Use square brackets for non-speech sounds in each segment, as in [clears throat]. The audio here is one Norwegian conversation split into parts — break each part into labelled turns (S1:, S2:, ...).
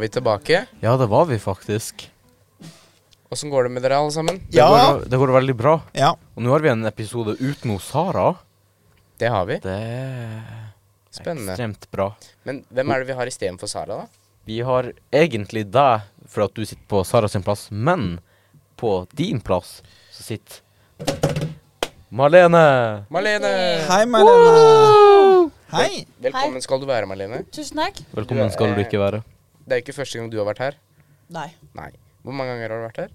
S1: vi tilbake.
S2: Ja, det var vi faktisk.
S1: Åssen går det med dere, alle sammen?
S2: Det, går, det går veldig bra.
S3: Ja.
S2: Og nå har vi en episode uten hos Sara.
S1: Det har vi.
S2: Det er
S1: Spennende.
S2: ekstremt bra.
S1: Men hvem er det vi har istedenfor Sara, da?
S2: Vi har egentlig deg for at du sitter på Sara sin plass, men på din plass så sitter Marlene.
S1: Marlene!
S3: Hei, Marlene. Hei.
S1: Velkommen skal du være, Marlene.
S4: Tusen takk.
S1: Du
S2: Velkommen
S1: er-
S2: skal du ikke være.
S1: Det er jo ikke første gang du har vært her.
S4: Nei.
S1: Nei. Hvor mange ganger har du vært her?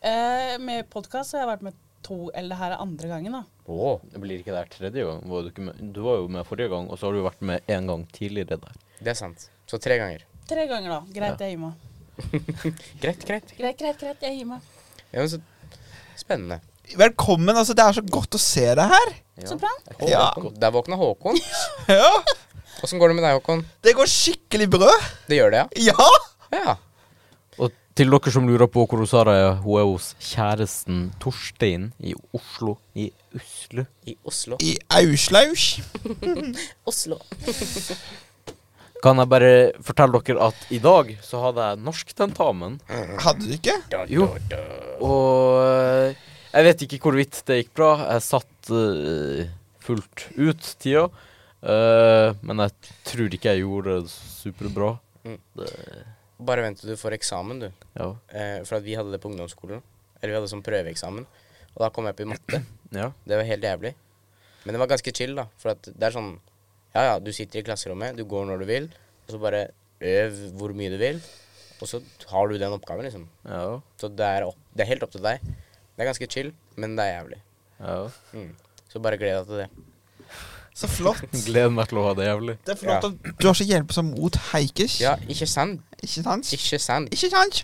S4: Eh, med podkast har jeg vært med to, eller det her er andre gangen, da.
S2: Å, det blir ikke der tredje gang. Var du, ikke med? du var jo med forrige gang, og så har du vært med én gang tidligere der.
S1: Det er sant. Så tre ganger.
S4: Tre ganger, da. Greit, jeg gir meg.
S1: Greit, greit.
S4: Greit, greit, greit, jeg gir meg.
S1: Ja, men så Spennende.
S3: Velkommen. altså Det er så godt å se deg her.
S4: Så bra.
S1: Å,
S3: Ja.
S1: Håkon. Der våkna Håkon.
S3: Ja.
S1: Åssen går det med deg, Håkon?
S3: Det går skikkelig brød.
S1: Det gjør det,
S3: Ja.
S1: ja? Ja.
S2: Og til dere som lurer på hvor hun Sara er, hun er hos kjæresten Torstein i Oslo. I Usle.
S1: I Oslo.
S3: I Auslaus.
S1: Oslo.
S2: Kan jeg bare fortelle dere at i dag så hadde jeg norsktentamen.
S3: Hadde du ikke?
S2: Jo. Og eh, jeg vet ikke hvorvidt det gikk bra. Jeg satt eh, fullt ut tida. Eh, men jeg tror ikke jeg gjorde det superbra.
S1: Bare vent til du får eksamen, du.
S2: Ja.
S1: Eh, for at vi hadde det på ungdomsskolen. Eller vi hadde sånn prøveeksamen. Og da kom jeg på i matte.
S2: ja.
S1: Det var helt jævlig. Men det var ganske chill, da. For at det er sånn Ja ja, du sitter i klasserommet, du går når du vil, og så bare øv hvor mye du vil, og så har du den oppgaven, liksom.
S2: Ja.
S1: Så det er, opp, det er helt opp til deg. Det er ganske chill, men det er jævlig.
S2: ja.
S1: Mm. Så bare gled deg til det.
S3: Så
S1: [laughs]
S3: flott. Det
S2: Gleder meg til å ha det jævlig.
S3: er flott
S1: Ja.
S3: at du har så hjelpsom mot Heikers.
S1: Ja, ikke sant?
S3: Ikke sant?
S1: Ikke sant?
S3: Ikke sant?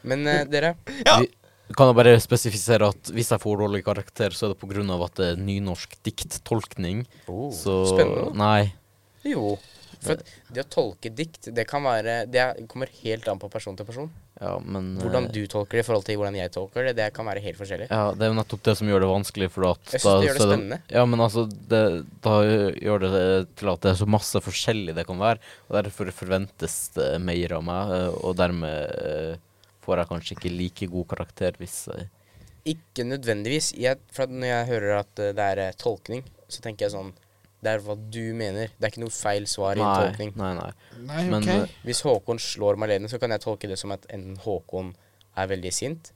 S1: Men eh, dere,
S3: Ja.
S2: Vi- Kan jeg bare spesifisere at hvis jeg får dårlig karakter, så er det på grunn av at det er nynorsk dikttolkning. så
S1: spennende.
S2: Nei.
S1: Jo. For at det å tolke dikt, det kan være Det er- kommer helt an på person til person.
S2: Ja, men eh,
S1: Hvordan du tolker det i forhold til hvordan jeg tolker det, det kan være helt forskjellig.
S2: Ja, det er jo nettopp det som gjør det vanskelig, for at
S1: Jeg synes
S2: da-
S1: det gjør det
S2: så er
S1: spennende.
S2: Ja, men altså, det, da gjør det det til at det er så masse forskjellig det kan være, og derfor forventes det mer av meg, eh, og dermed eh, får jeg kanskje ikke like god karakter hvis eh, jeg
S1: Ikke nødvendigvis. Jeg, for at når jeg hører at eh, det er eh, tolkning, så tenker jeg sånn Det er hva du mener. Det er ikke noe feil svar i en
S2: Nei,
S1: tolkning.
S2: nei, nei.
S3: Nei,
S2: Men,
S3: ok.
S2: eh,
S1: Hvis Håkon slår Malene, så kan jeg tolke det som at enten Håkon er veldig sint,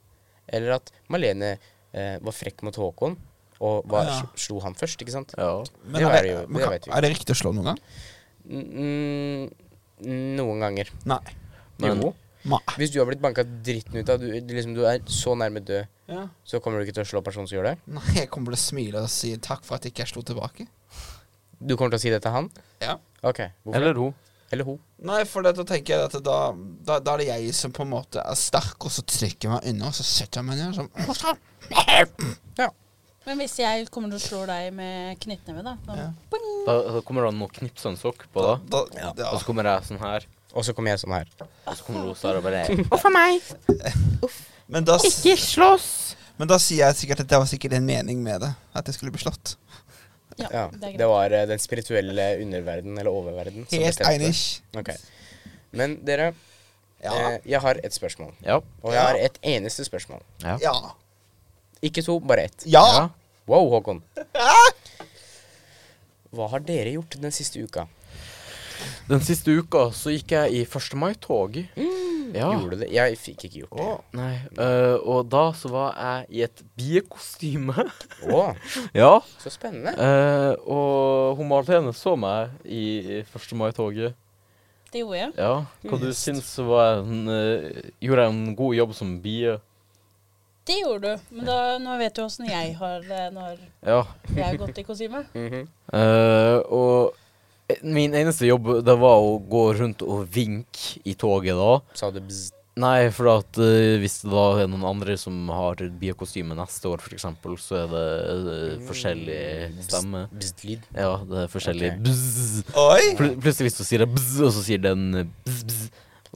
S1: eller at Malene eh, var frekk mot Håkon og var,
S3: Ja.
S1: slo han først, ikke sant?
S2: Ja.
S3: Men
S1: det
S3: er
S1: er jo-
S3: det, men
S1: det
S3: kan-
S1: vet vi.
S3: er det riktig å slå noen gang?
S1: Mm, noen ganger.
S3: Nei.
S2: Men-
S1: jo.
S3: Ma.
S1: Hvis du har blitt banka dritten ut av, du, liksom, du er så nærme død, så kommer du ikke til å slå personen som gjør det?
S3: Nei, jeg kommer til å smile og si takk for at ikke jeg slo tilbake.
S1: Du kommer til å si det til han?
S3: Ja.
S1: Ok. Hvorfor?
S2: Eller hun.
S1: det? Eller hun.
S3: Nei, for det, da tenker jeg at da, da, da er det jeg som på en måte er sterk, og så trykker jeg meg unna, og så setter jeg meg ned og sånn
S4: Men hvis jeg kommer til å slå deg med knyttneve, da, da
S3: Ja.
S4: boing.
S2: Da, da kommer det an å knipse en sokk på deg.
S3: Da, ja.
S2: Og så kommer jeg sånn her,
S1: Og så kommer jeg sånn her.
S2: og så kommer hun Sara og bare
S3: [laughs] Men, da, s-
S2: slåss!
S3: men da sier jeg sikkert at det var sikkert en mening med det, at jeg skulle bli slått.
S4: ja,
S1: Ja.
S4: det er
S1: Det
S4: greit.
S1: var eh, den spirituelle underverden, eller oververden, som
S3: Helt
S1: bestemte.
S3: einig.
S1: Ok. Men dere,
S3: Ja.
S1: eh, jeg har et spørsmål.
S2: Ja.
S1: Og jeg
S3: Ja.
S1: har et eneste spørsmål.
S2: Ja.
S3: Ja.
S1: Ikke to, bare ett.
S3: Ja.
S2: ja.
S1: Wow,
S2: [laughs]
S1: Håkon. Hva har dere gjort den siste uka?
S2: Den siste uka så gikk jeg i 1. mai-tog.
S1: Mm.
S2: Ja.
S1: Gjorde det? Jeg fikk ikke gjort det.
S2: Nei. eh, og da så var jeg i et biekostyme.
S1: Å,
S2: [laughs] ja.
S1: så spennende.
S2: eh, og hun Marlene så meg i 1. mai-toget.
S4: Det gjorde jeg.
S2: Ja. Hva du syns var en eh, Gjorde jeg en god jobb som bie?
S4: Det gjorde du. Men da, nå vet du åssen jeg har det når
S2: Ja.
S4: jeg har gått i kostyme.
S1: Mhm.
S2: Eh, og eh, min eneste jobb, det var å gå rundt og vinke i toget da.
S1: Sa du bzz?
S2: Nei, for at eh, hvis det da er noen andre som har biokostyme neste år, for eksempel, så er det eh, forskjellig stemme.
S1: Bzz-lyd.
S2: Ja, det er forskjellig
S1: Ok.
S2: bzz.
S3: Oi!
S2: Pl plutselig så sier det bzz, og så sier den eh, bzz, bzz.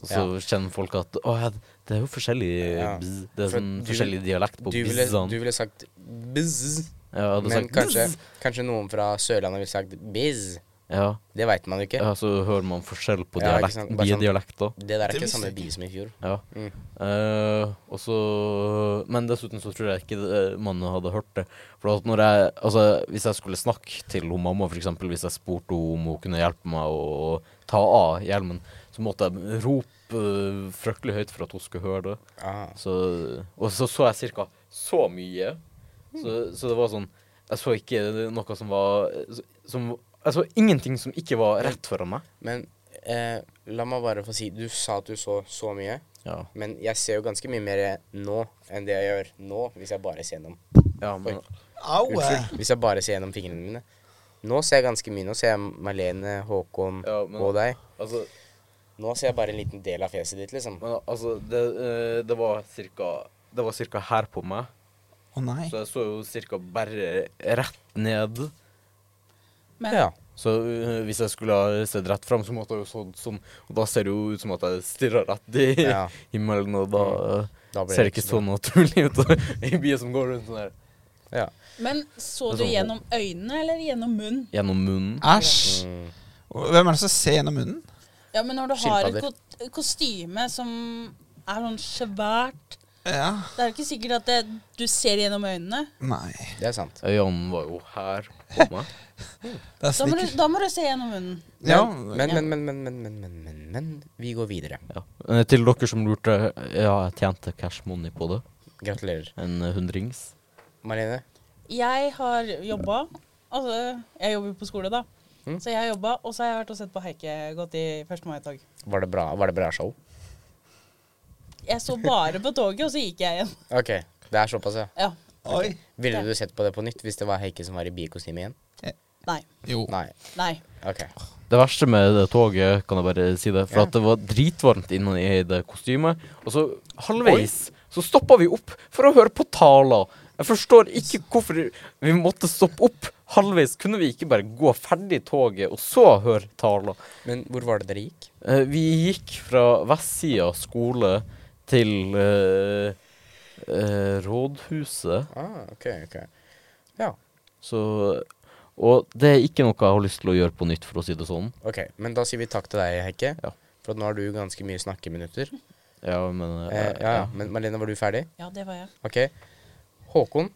S2: Og så kjenner folk at å, ja, det er jo forskjellig
S1: Ja.
S2: bzz. Det er
S1: For
S2: sånn
S1: du-
S2: forskjellig dialekt på
S1: Du ville, du
S2: bzzene.
S1: ville sagt bzz,
S2: Ja, du
S1: men
S2: sagt
S1: kanskje,
S2: bzz.
S1: kanskje noen fra Sørlandet ville sagt biz.
S2: Ja,
S1: Det veit man jo ikke.
S2: ja, så hører man forskjell på
S1: Ja, ikke
S2: dialekt,
S1: sant, bare sånn-
S2: bidialekter.
S1: Det der er
S3: Det
S1: ikke
S3: visste
S1: samme
S3: jeg
S1: bil som i fjor.
S2: Ja.
S1: Mm.
S2: Eh, og så Men dessuten så tror jeg ikke det- man hadde hørt det. For at når jeg Altså, hvis jeg skulle snakke til hun mamma, for eksempel, hvis jeg spurte henne om hun kunne hjelpe meg å ta av hjelmen, så måtte jeg rope eh, fryktelig høyt for at hun skulle høre det.
S1: Ah.
S2: Så, og så så jeg ca. så mye. Så, så det var sånn Jeg så ikke noe som var som, Jeg så ingenting som ikke var rett foran meg.
S1: Men eh, la meg bare få si Du sa at du så så mye.
S2: Ja,
S1: Men jeg ser jo ganske mye mer nå enn det jeg gjør nå, hvis jeg bare ser gjennom.
S2: ja men
S3: Au! eh.
S1: Unnskyld. Hvis jeg bare ser gjennom fingrene mine. Nå ser jeg ganske mye. Nå ser jeg Marlene, Håkon
S2: Ja, men-
S1: og deg.
S2: altså
S1: Nå ser jeg bare en liten del av fjeset ditt, liksom.
S2: Men altså, det, eh, det var cirka Det var cirka her på meg.
S3: Å nei.
S2: Så jeg så jo cirka bare rett ned.
S4: Men
S1: Ja.
S2: Så eh, hvis jeg skulle ha sett rett fram, så måtte jeg jo sånn sånn. Og da ser det jo ut som at jeg stirrer rett i
S1: Ja.
S2: himmelen, og da, eh,
S1: Da blir
S2: ser
S1: det
S2: det ikke
S1: ikke
S2: så naturlig ut. [laughs] Ei bie som går rundt sånn her.
S1: ja.
S4: Men så
S2: Det
S4: du
S2: er sånn-
S4: gjennom øynene eller gjennom munnen?
S2: Gjennom munnen.
S3: Æsj.
S1: Mm.
S3: Hvem er det som ser gjennom munnen?
S4: Ja, men når du har et
S1: Skilpadder.
S4: ko- kostyme som er sånn svært
S3: Ja.
S4: Det er jo ikke sikkert at det, du ser gjennom øynene.
S3: Nei.
S1: Det er sant.
S2: Øynene var jo her på meg.
S3: Det er
S4: Da må, du,
S3: slik
S4: da må du se gjennom munnen.
S3: Ja,
S1: Men, men, men, men, men, men, men, men, men vi går videre.
S2: [laughs] Ja. Eh, Til dere som lurte, eh, ja, jeg tjente cash money på det.
S1: Gratulerer.
S2: En eh, hundrings.
S1: Marlene,
S4: Jeg har jobba Altså, jeg jobber jo på skole, da.
S1: Mm.
S4: Så jeg har jobba, og så har jeg vært og sett på Heike gått i 1. mai-tog.
S1: var det bra, var det bra show?
S4: Jeg så bare på toget, og så gikk jeg igjen.
S1: OK. Det er såpass, ja.
S4: Ja.
S3: Oi.
S1: Ville du sett på det på nytt hvis det var Heikki som var i biekostyme igjen?
S4: Nei.
S3: Jo.
S1: Nei.
S4: Nei.
S1: OK.
S2: Det verste med det toget, kan jeg bare si det, for
S1: Ja.
S2: at det var dritvarmt inne i det kostymet. Og så halvveis så stoppa vi opp for å høre på taler. Jeg forstår ikke hvorfor vi måtte stoppe opp halvveis. Kunne vi ikke bare gå ferdig toget og så høre taler?
S1: Men hvor var det dere gikk?
S2: Eh, vi gikk fra vestsida skole til eh, eh, rådhuset.
S1: Ah, OK, OK. Ja.
S2: Så Og det er ikke noe jeg har lyst til å gjøre på nytt, for å si det sånn.
S1: Ok, men da sier vi takk til deg, Hekke.
S2: Ja.
S1: For at nå har du ganske mye snakkeminutter.
S2: Ja, men eh,
S1: Eh, ja, ja. Men Marlene, var du ferdig?
S4: Ja, det var jeg.
S1: Ok. Håkon.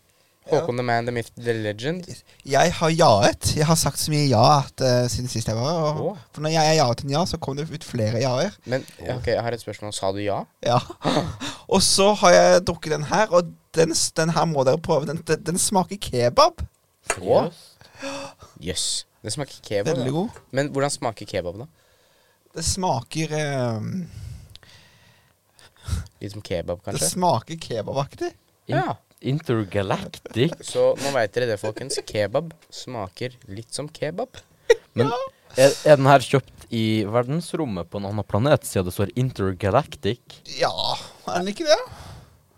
S1: Håkon the man, the myth, the legend.
S3: Jeg har jaet. Jeg har sagt så mye ja at, eh, siden sist jeg var her. og-
S1: Å.
S3: For når jeg jaet en ja, så kom det ut flere jaer.
S1: Men ja, ok, jeg har et spørsmål. Sa du ja?
S3: Ja. [laughs] Og så har jeg drukket den her, og den, s- den her må dere prøve. Den, den, den smaker kebab.
S1: Å? Jøss. Yes. Det smaker kebab.
S3: Veldig
S1: Da.
S3: god.
S1: Men hvordan smaker kebab, da?
S3: Det smaker eh,
S1: Litt som kebab,
S3: Det
S1: kanskje?
S3: smaker kebabaktig.
S2: In
S1: Ja. [laughs]
S2: Intergalactic.
S1: Så nå veit dere det, folkens. Kebab smaker litt som kebab.
S2: Men er, er den her kjøpt i verdensrommet på en annen planet, siden det står Intergalactic?
S3: Ja, er den ikke det?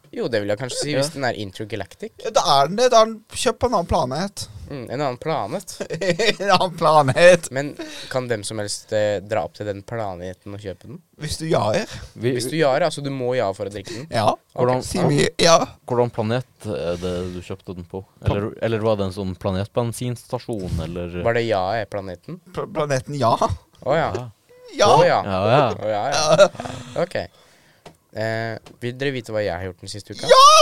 S1: Jo, det vil jeg kanskje si, hvis den er intergalactic.
S3: Ja, Da er den det. Da er den kjøpt på en annen planet. [laughs]
S1: Mm, en annen planet.
S3: en annen planet.
S1: Men kan hvem som helst eh, dra opp til den planeten og kjøpe den?
S3: Hvis du jaer.
S2: Vi,
S1: Hvis du gjør det, altså du må ja for å drikke den.
S3: Ja.
S2: hvordan,
S3: Si mye. Ja.
S2: hvordan planet er det du kjøpte den på? Eller, eller var det en sånn planetbensinstasjon, eller
S1: Var det ja er planeten?
S3: Pl- Planeten ja.
S1: Å ja.
S2: Ja.
S3: Ja.
S1: Å ja.
S2: Ja,
S1: Å
S2: ja.
S1: ja, ja. Ok. Eh, vil dere vite hva jeg har gjort den siste uka? Ja!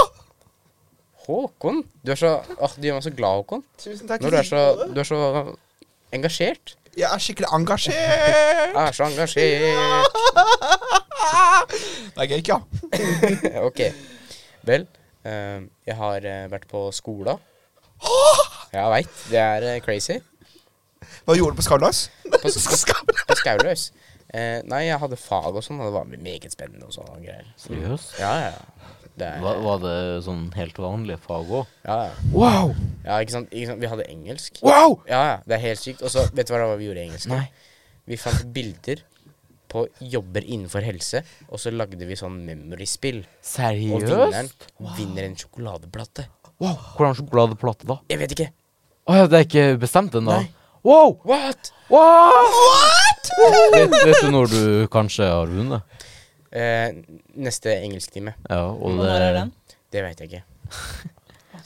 S1: Håkon? Du er så Åh, Du gjør meg så glad, Håkon.
S3: Tusen takk.
S1: Når du er så, du er så engasjert.
S3: Jeg er skikkelig engasjert.
S1: Jeg er så engasjert.
S3: Det er gøy, ikke, ja.
S1: ok. Vel, eh, jeg har eh, vært på skolen. Jeg veit. Det er eh, crazy.
S3: Hva gjorde du på Skarlaus?
S1: På, på, på Skauløs. Eh, nei, jeg hadde fag og sånn, og det var meget spennende og sånne greier.
S2: Seriøst?
S1: Ja, ja, ja. Det er,
S2: Var, var det sånn helt vanlige fag òg?
S1: ja, ja.
S3: Wow.
S1: ja ikke, sant? ikke sant? Vi hadde engelsk.
S3: Wow.
S1: Ja, ja. Det er helt sykt. Og så, vet du hva det var vi gjorde i engelsk?
S2: Nei.
S1: Vi fant bilder på jobber innenfor helse, og så lagde vi sånn memory-spill. Og vinneren
S2: Seriøst?
S1: vinner en sjokoladeplate.
S2: Wow. Hvordan sjokoladeplate, da?
S1: Jeg vet ikke.
S2: Å ja, det er ikke bestemt ennå?
S1: Nei.
S2: Wow!
S1: What?
S2: What? Vet, vet du når du kanskje har vunnet?
S1: Eh, neste engelsktime.
S2: Ja, og
S4: Og
S2: det
S4: når er den?
S1: Det vet jeg ikke.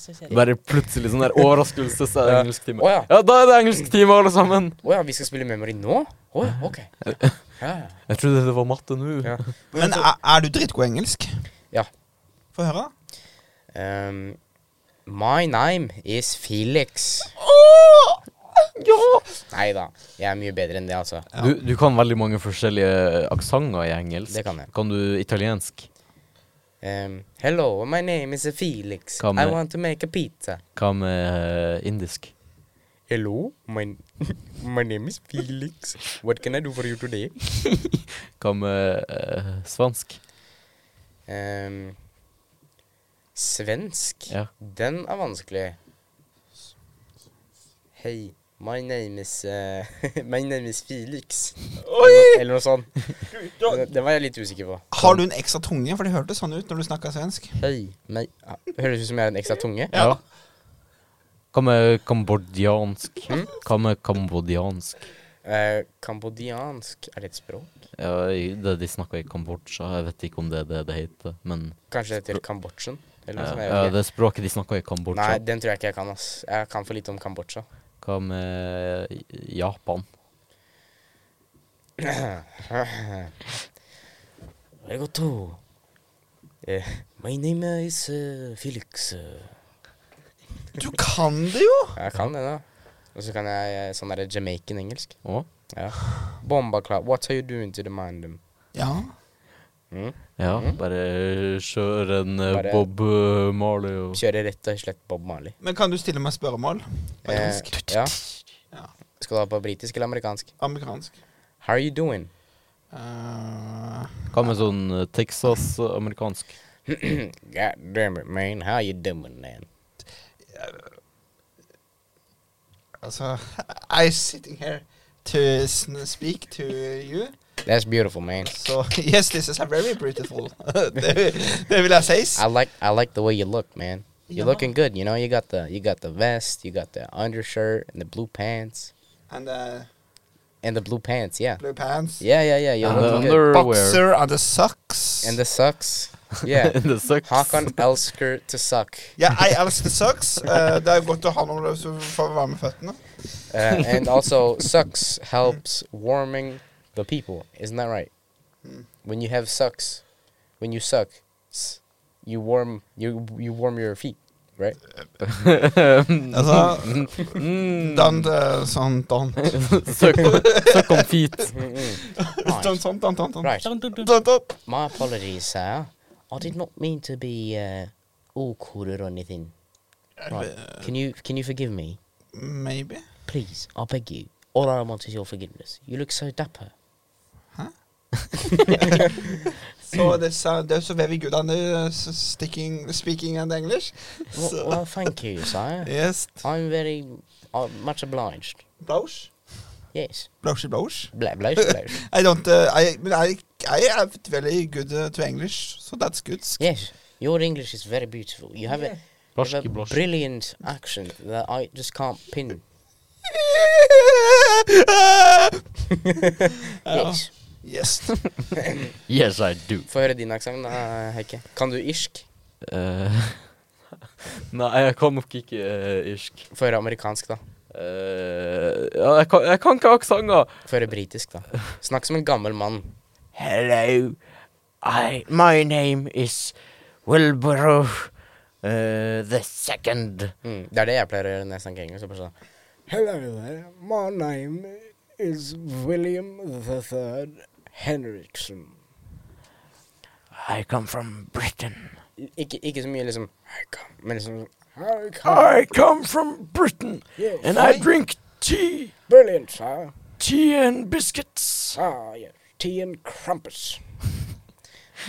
S4: så kjedelig.
S2: Bare plutselig sånn der overraskelse, så er det
S1: Ja.
S2: engelsktime.
S1: Å ja.
S2: Ja, da er det engelsktime, alle sammen!
S1: Å ja, vi skal spille Memory nå? Å ja, ok. Ja, ja.
S2: Jeg trodde det var matte nå.
S1: Ja.
S3: Men er, er du drittgod i engelsk?
S1: Ja.
S3: Få høre, da.
S1: Um, my name is Felix. Nei da, jeg er mye bedre enn det, altså.
S2: Du, du kan veldig mange forskjellige aksenter i engelsk.
S1: Det kan jeg.
S2: Kan du italiensk?
S1: Um, hello, my name is Felix.
S2: Hva
S1: I
S2: med-
S1: want to make a pizza.
S2: Hva med eh, indisk?
S1: Hello, my, [laughs] my name is Felix. What can I do for you today?
S2: Hva med eh, svansk?
S1: Um, svensk?
S2: Ja.
S1: Den er vanskelig. Hei, my name is eh, [laughs] My name is Felix. Eller, eller noe sånt. Den, den var jeg litt usikker på.
S3: Har du en ekstra tunge? For det hørtes sånn ut når du snakka svensk.
S1: Hei, my ah, Høres ut som jeg har en ekstra tunge.
S2: Ja. Hva med kambodjansk?
S1: Mm.
S2: Hva med kambodjansk?
S1: Eh, kambodjansk er det et språk?
S2: Ja, i- det de snakker i Kambodsja, jeg vet ikke om det er det det heter, men
S1: Kanskje det heter kambodsjen? Eller noe
S2: ja,
S1: sånt?
S2: ja,
S1: jeg vet ikke.
S2: det språket de snakker i
S1: Nei,
S2: Kambodsja.
S1: den tror jeg ikke jeg kan. ass Jeg kan for lite om Kambodsja.
S2: Hva med Japan?
S1: Arigato. Eh, my name is eh, Felix. eh.
S3: Du kan det jo!
S1: Jeg kan det, da. Og så kan jeg eh, sånn derre Jamaican-engelsk.
S2: Å?
S1: Ja. Bomba clap, what are you doing to the mind them?
S3: Ja.
S1: Mm?
S2: Ja, bare kjør en eh,
S1: Bare-
S2: Bob eh, Marley og
S1: Kjører rett og slett Bob Marley.
S3: Men kan du stille meg spørremål? På
S1: Eh,
S3: engelsk?
S1: ja.
S3: Ja.
S1: Skal du ha på britisk eller amerikansk?
S3: Amerikansk.
S1: How are you doing?
S3: Eh,
S2: Hva med sånn eh, Texas-amerikansk?
S1: God damn it, man. How you doing, man?
S3: altså [laughs] I'm sitting here to sn- speak to you.
S1: That's beautiful, man.
S3: So [laughs] yes, this is a very beautiful. [laughs] det, det vil jeg si.
S1: I like I like the way you look, man. You're
S3: Yeah.
S1: looking good, you know. You got the you got the vest, you got the undershirt, and the blue pants,
S3: And uh,
S1: and the blue pants. Yeah,
S3: blue pants.
S1: yeah, yeah, yeah. You're
S2: And the
S1: looking good.
S2: Eh, underwear.
S3: Boxer and the socks.
S1: And the socks. Yeah,
S2: [laughs] det sucks. [laughs]
S1: Hakan elsker to suck,
S3: Ja, jeg elsker socks. Eh, det er godt å ha noe som får varme føttene.
S1: uh, and also sucks helps warming the people. Isn't that right?
S3: Mm.
S1: When you have sucks, when you suck, s- you warm you you warm your feet, right?
S3: Altså,
S2: Mm.
S3: dan, eh, sånn, dan.
S2: Søk om- søk om feet.
S1: [laughs]
S3: Sånn, sånn, dan, dan, dan.
S1: Right.
S4: Dun, dun, dun.
S3: Dan, dan.
S1: My apologies, sir. I did not mean to be uh, awkward or anything. Right.
S3: Uh.
S1: Can you can you forgive me,
S3: Maybe.
S1: please? I beg you. All I want is your forgiveness. You look so dapper.
S3: So this, uh, there's a very good and uh, s- sticking, speaking and English.
S1: Well,
S3: So,
S1: well thank you,
S3: [laughs]
S1: sir.
S3: yes.
S1: I'm very uh, much obliged.
S3: Blouse.
S1: Yes.
S3: Blouse, blouse.
S1: Bla, bla, bla.
S3: I don't, uh, I, but I, I have very good uh, to English, so that's good.
S1: yes. Your English is very beautiful. You have a, you have a
S2: Blaschki, blaschki.
S1: brilliant accent that I just can't pin. Yes.
S3: yes.
S2: Yes, I do.
S1: Få høre din aksent, da, Heike. Kan du irsk?
S2: Eh, [laughs] nei, jeg kan nok ikke eh, irsk.
S1: Få høre amerikansk, da.
S2: Eh, ja, jeg, kan, jeg kan ikke aksenter.
S1: Få høre britisk, da. Snakk som en gammel mann.
S2: Hello, I, my name is Wilbur the second.
S1: Mm, det er det jeg pleier å gjøre når jeg snakker engelsk. Jeg bare sånn,
S5: Hello there. My name is William the Third Henriksen.
S2: I come from Britain.
S1: Ikke, ikke så mye liksom «Hei, kom», Men liksom
S5: How come?
S2: I come from Britain,
S5: Yes.
S2: and I drink tea,
S5: Brilliant, sir.
S2: tea and biscuits,
S5: Ah, yes. Tea and crumpets.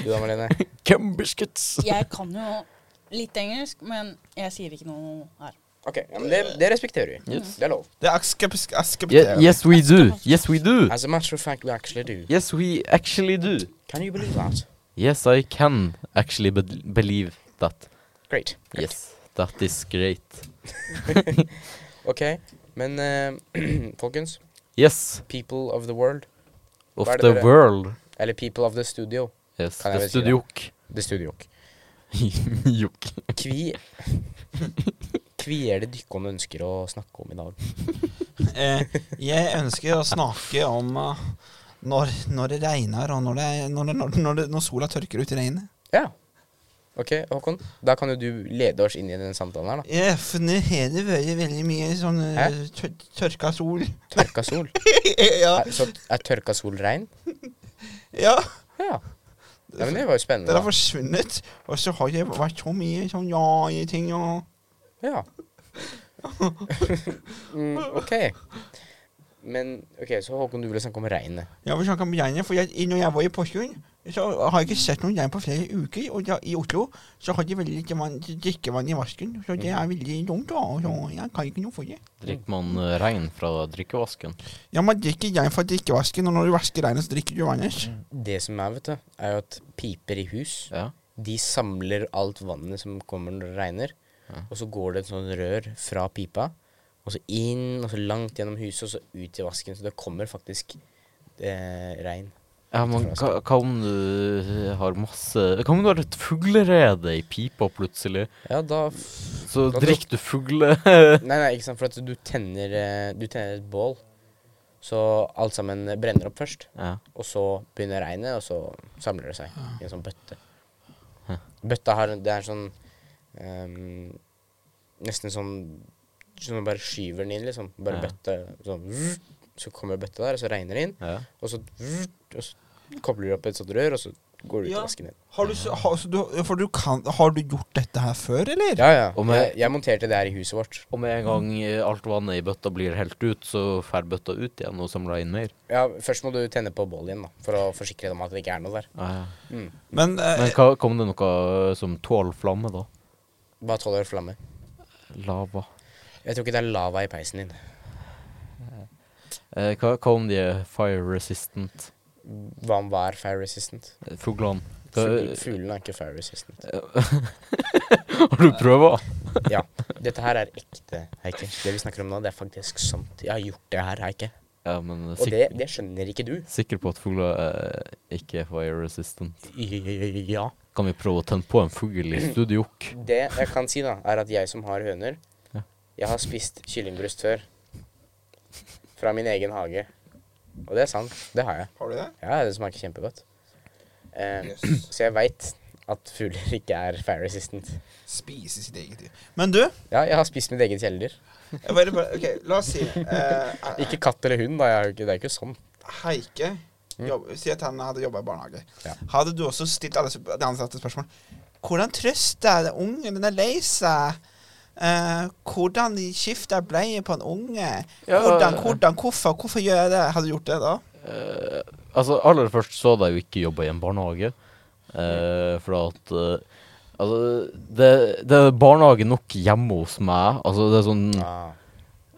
S1: Du da, Malene?
S2: gum biscuits.
S4: Jeg kan jo litt engelsk, men jeg sier ikke noe her.
S1: Ok, ja, men det, det respekterer vi.
S2: Yes.
S1: Det er lov.
S3: Det er akseptert.
S2: Ye- yes, we do. Yes, we do.
S1: As a matter of fact, we actually do.
S2: Yes, we actually do.
S1: Can you believe that?
S2: Yes, I can actually be- believe that.
S1: Great.
S2: Yes, that is great.
S1: Ok, men eh, [clears throat] folkens
S2: Yes,
S1: People of the world.
S2: of
S1: Hva er det
S2: the
S1: dere-
S2: world.
S1: Eller people of the studio.
S2: Yes,
S1: Kan jeg
S2: the [laughs]
S1: vel si det?
S2: studiok.
S1: The studio.
S2: Jokk.
S1: Kvi [laughs] Kvi er det dykkene ønsker å snakke om i dag.
S3: Eh, jeg ønsker å snakke om eh, når, når det regner, og når, det, er- når, det- når, det- når, det, når sola tørker ut i regnet.
S1: Ja. Ok, Håkon. Da kan jo du lede oss inn i den samtalen her, da.
S3: Ja, for nå har det vært veldig mye sånn eh, tør tørka sol.
S1: Tørka sol. [laughs]
S3: ja.
S1: Er, så er tørka sol regn?
S3: ja.
S1: Ja. ja. Men det var jo
S3: Den har
S1: spennende.
S3: forsvunnet, og så har det vært så mye sånn ja i ting og
S1: Da. [laughs] Ja. mm, ok. Men ok, så Håkon, du ville snakke om regnet.
S3: Ja, vi snakker om regnet, for jeg, i- når jeg var i Porsgrunn, så har jeg ikke sett noen regn på flere uker. Og da, i Oslo så har de veldig lite vann, drikkevann i vasken, så det er veldig dumt. da, og så jeg kan ikke noe for det.
S2: Drikker man eh, regn fra drikkevasken?
S3: Ja, man drikker regn fra drikkevasken, og når du vasker regnet, så drikker du vannet.
S1: Det som er, vet du, er jo at piper i hus
S2: Ja.
S1: De samler alt vannet som kommer når det regner.
S2: Ja.
S1: Og så går det et sånt rør fra pipa, og så inn, og så langt gjennom huset, og så ut i vasken. Så det kommer faktisk eh, regn.
S2: Ja, men hva, hva om du eh, har masse Hva om du har et fuglerede i pipa plutselig?
S1: Ja, da f
S2: Så
S1: Da dro-
S2: drikker du fugle... [laughs]
S1: Nei, nei, ikke sant, for at du tenner, eh, du tenner et bål. Så alt sammen brenner opp først,
S2: ja.
S1: og så begynner regnet, og så samler det seg i en sånn bøtte. Bøtta har Det er sånn ehm, Nesten sånn Sånn at man bare skyver den inn, liksom. Bare
S2: Ja.
S1: bøtte sånn vrrt, Så kommer bøtta der, og så regner det inn,
S2: ja.
S1: og så, vrrt, og så kobler du opp et sånt rør, og så går du ut i
S3: Ja.
S1: vasken igjen.
S3: Har du, så- har, så du, for du kan, har du gjort dette her før, eller?
S1: Ja, ja.
S2: Og med-
S1: jeg, jeg monterte det her i huset vårt.
S2: Og med en gang eh, alt vannet i bøtta blir helt ut, så fer bøtta ut igjen og samler inn mer.
S1: Ja, Først må du tenne på bålet igjen, da, for å forsikre deg om at det ikke er noe der.
S2: Ja, ja.
S3: Men, eh,
S2: Men hva, kom det noe eh, som tåler flamme, da?
S1: Bare tåler flamme.
S2: Lava.
S1: Jeg tror ikke det er lava i peisen din.
S2: Eh, hva, hva om de er fire resistant?
S1: Hva om hva er fire resistant?
S2: Eh, Fuglene. Hva,
S1: Fugl- Fuglene er ikke fire resistant.
S2: eh, [laughs] har du prøva?
S1: Ja. Dette her er ekte, Heike. Det vi snakker om nå, det er faktisk sant. Jeg har gjort det her, Heike.
S2: Ja, men eh,
S1: Og
S2: sik
S1: det, det skjønner ikke du.
S2: sikker på at fugler eh, ikke er fire resistant.
S1: Ja.
S2: Kan vi prøve å tenne på en fugl i studio?
S1: Det jeg kan si, da, er at jeg som har høner
S2: Ja.
S1: Jeg har spist kyllingbryst før. Fra min egen hage. Og det er sant. Det har jeg.
S3: har du det?
S1: Ja, det smaker kjempegodt. Eh, Så jeg veit at fugler ikke er fire resistant.
S3: Spise sitt eget liv. Men du,
S1: Ja, jeg har spist mitt eget kjæledyr.
S3: jeg bare, bare, ok, la oss si eh,
S1: Ikke katt eller hund, da. Jeg har jo ikke, det er jo ikke sånn.
S3: Heike jobb, Si at han hadde jobba i barnehage.
S1: Ja.
S3: Hadde du også stilt alle sp- de ansatte spørsmål? Hvordan trøster det ungen den er lei seg? Eh, hvordan skifter bleie på en unge?
S2: Ja.
S3: Hvordan, hvordan, hvorfor, hvorfor gjør jeg det? Hadde du gjort det da?
S2: Eh, altså, aller først så hadde jeg jo ikke jobba i en barnehage. Eh, for at eh, Altså, det, det er barnehage nok hjemme hos meg. Altså, det er sånn
S1: Ah.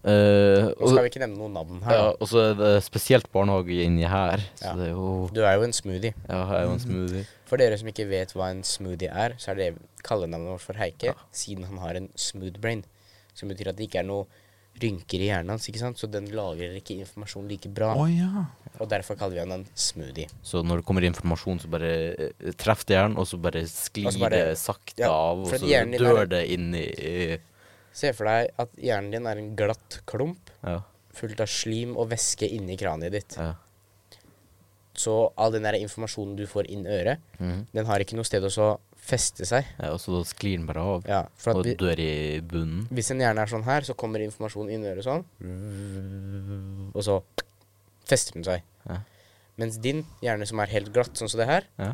S2: eh,
S1: Nå skal
S2: og,
S1: vi ikke nevne noen navn her.
S2: ja,
S1: da.
S2: og så er det spesielt barnehage inni her. Så
S1: Ja. Mm.
S2: det er jo
S1: Du er jo en smoothie.
S2: Ja, jeg er jo en smoothie.
S1: For dere som ikke vet hva en smoothie er, så er det kallenavnet vårt for Heike, siden han har en smooth brain. Som betyr at det ikke er noe rynker i hjernen hans, ikke sant? så den lagrer ikke informasjon like bra.
S3: Å ja.
S1: Og derfor kaller vi han en smoothie.
S2: Så når det kommer informasjon, så bare eh, treff det hjernen, og så bare sklir
S1: Og så bare-
S2: det sakte
S1: ja,
S2: av, og
S1: for
S2: så
S1: at hjernen din
S2: dør
S1: er-
S2: det inni i-
S1: Se for deg at hjernen din er en glatt klump
S2: Ja.
S1: fullt av slim og væske inni kraniet ditt.
S2: ja.
S1: Så all den der informasjonen du får inn øret,
S2: Mhm.
S1: den har ikke noe sted å så feste seg.
S2: ja og så da sklir den bare av,
S1: Ja, for
S2: og
S1: at vi,
S2: dør i bunnen.
S1: Hvis en hjerne er sånn her, så kommer informasjonen inn i øret sånn. Og så fester den seg.
S2: Ja.
S1: Mens din hjerne, som er helt glatt, sånn som det her
S2: Ja.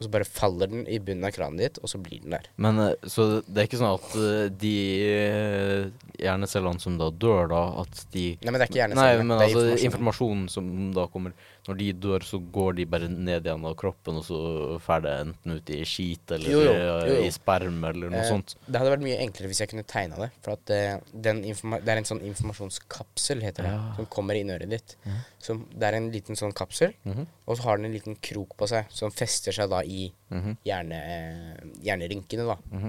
S1: Og så bare faller den i bunnen av kranen ditt, og så blir den der.
S2: Men eh, så det er ikke sånn at eh, de eh, hjernecellene som da dør, da, at de
S1: Nei, men det er ikke
S2: Nei,
S1: hjernecellene.
S2: men
S1: det er
S2: altså
S1: informasjonen.
S2: informasjonen som da kommer Når de dør, så går de bare ned igjen av kroppen, og så fer det enten ut i skit eller
S1: Jo, jo,
S2: eh,
S1: jo, jo.
S2: i sperm eller noe
S1: Eh,
S2: sånt.
S1: Det hadde vært mye enklere hvis jeg kunne tegna det. For at eh, den informa det er en sånn informasjonskapsel, heter det,
S2: Ja.
S1: som kommer inn i øret ditt. Som, det er en liten sånn kapsel,
S2: Mhm.
S1: og så har den en liten krok på seg som fester seg da i
S2: Mhm.
S1: hjerne, eh, hjernerynkene, da.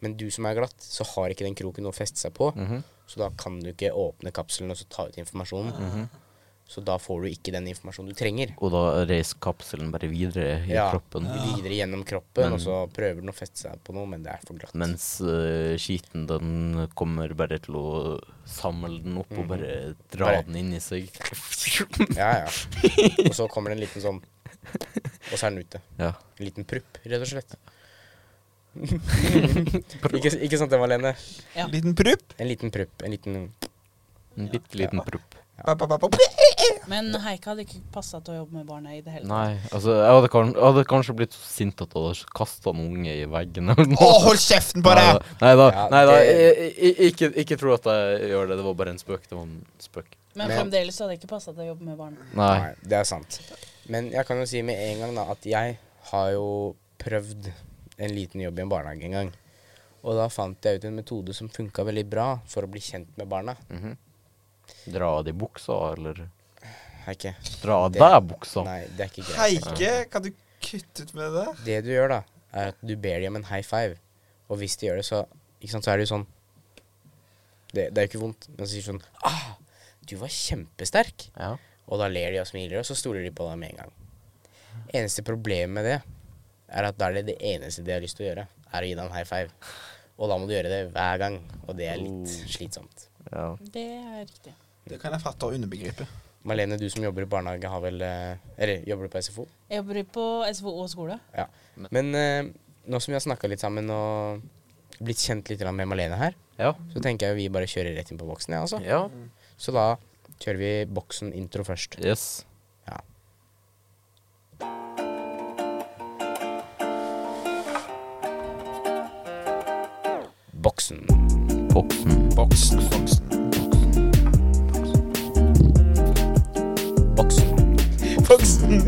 S1: Men du som er glatt, så har ikke
S2: Mhm. Mhm.
S1: den kroken noe å feste seg på, så da kan du ikke åpne kapselen og så ta ut informasjonen. Så da får du ikke den informasjonen du trenger.
S2: Og da reiser kapselen bare videre i
S1: Ja.
S2: kroppen.
S1: Videre gjennom kroppen,
S2: Men-
S1: og så prøver den å feste seg på noe, men det er for glatt.
S2: Mens eh, skiten, den kommer bare til å samle den opp og bare dra
S1: Mhm. Bare-
S2: den inn i seg.
S1: Ja, ja. Og så kommer det en liten sånn Og så er den ute.
S2: [laughs] Ja.
S1: En liten prupp, rett og slett. ikke, ikke sant det, Malene?
S4: Ja.
S3: Liten prupp.
S1: En liten prupp. En liten
S2: En bitte liten propp.
S3: Ba, ba, ba, ba.
S4: Men Heike hadde ikke passa til å jobbe med barna i det hele tatt.
S2: Nei, altså, jeg hadde, kan, jeg hadde kanskje blitt så sint at jeg hadde kasta en unge i veggen. eller noe.
S3: Å, hold kjeften på
S2: Nei
S3: deg!
S2: da, nei da,
S1: Ja,
S2: nei da
S1: det-
S2: i- i- ikke, ikke tro at jeg gjør det. Det var bare en spøk. Det var en spøk.
S4: Men
S1: Men-
S4: fremdeles hadde jeg ikke passa til å jobbe med barna.
S2: Nei.
S1: Nei, det er sant. Men jeg kan jo si med en gang da at jeg har jo prøvd en liten jobb i en barnehage en gang. Og da fant jeg ut en metode som funka veldig bra for å bli kjent med barna.
S2: Dra av de buksa, eller
S1: Heike.
S2: Dra av
S1: Det-
S2: deg buksa.
S1: Nei, det er ikke greit.
S3: Heike, kan du kutte ut med det der?
S1: Det du gjør, da, er at du ber dem om en high five. Og hvis de gjør det, så ikke sant, Så er det jo sånn Det, det er jo ikke vondt, men så sier de sånn Ah, du var kjempesterk.
S2: Ja.
S1: Og da ler de og smiler, og så stoler de på deg med en gang. Eneste problemet med det er at da er det det eneste de har lyst til å gjøre, er å gi deg en high five. Og da må du gjøre det hver gang, og det er litt slitsomt.
S2: ja.
S4: Det er riktig.
S3: Det kan jeg fatte og underbegripe.
S1: Malene, du som jobber i barnehage, har vel eh, Eller jobber du på SFO?
S4: Jeg jobber på SVO og skole.
S1: Ja. Men eh, nå som vi har snakka litt sammen og blitt kjent litt grann med Malene her,
S2: Ja.
S1: så tenker jeg vi bare kjører rett inn på boksen, jeg, altså.
S2: ja.
S1: Så da kjører vi boksen-intro først.
S2: Yes.
S1: Ja. Boksen.
S2: Boksen.
S3: Boksen, boksen.
S1: Boksen.
S3: Boksen!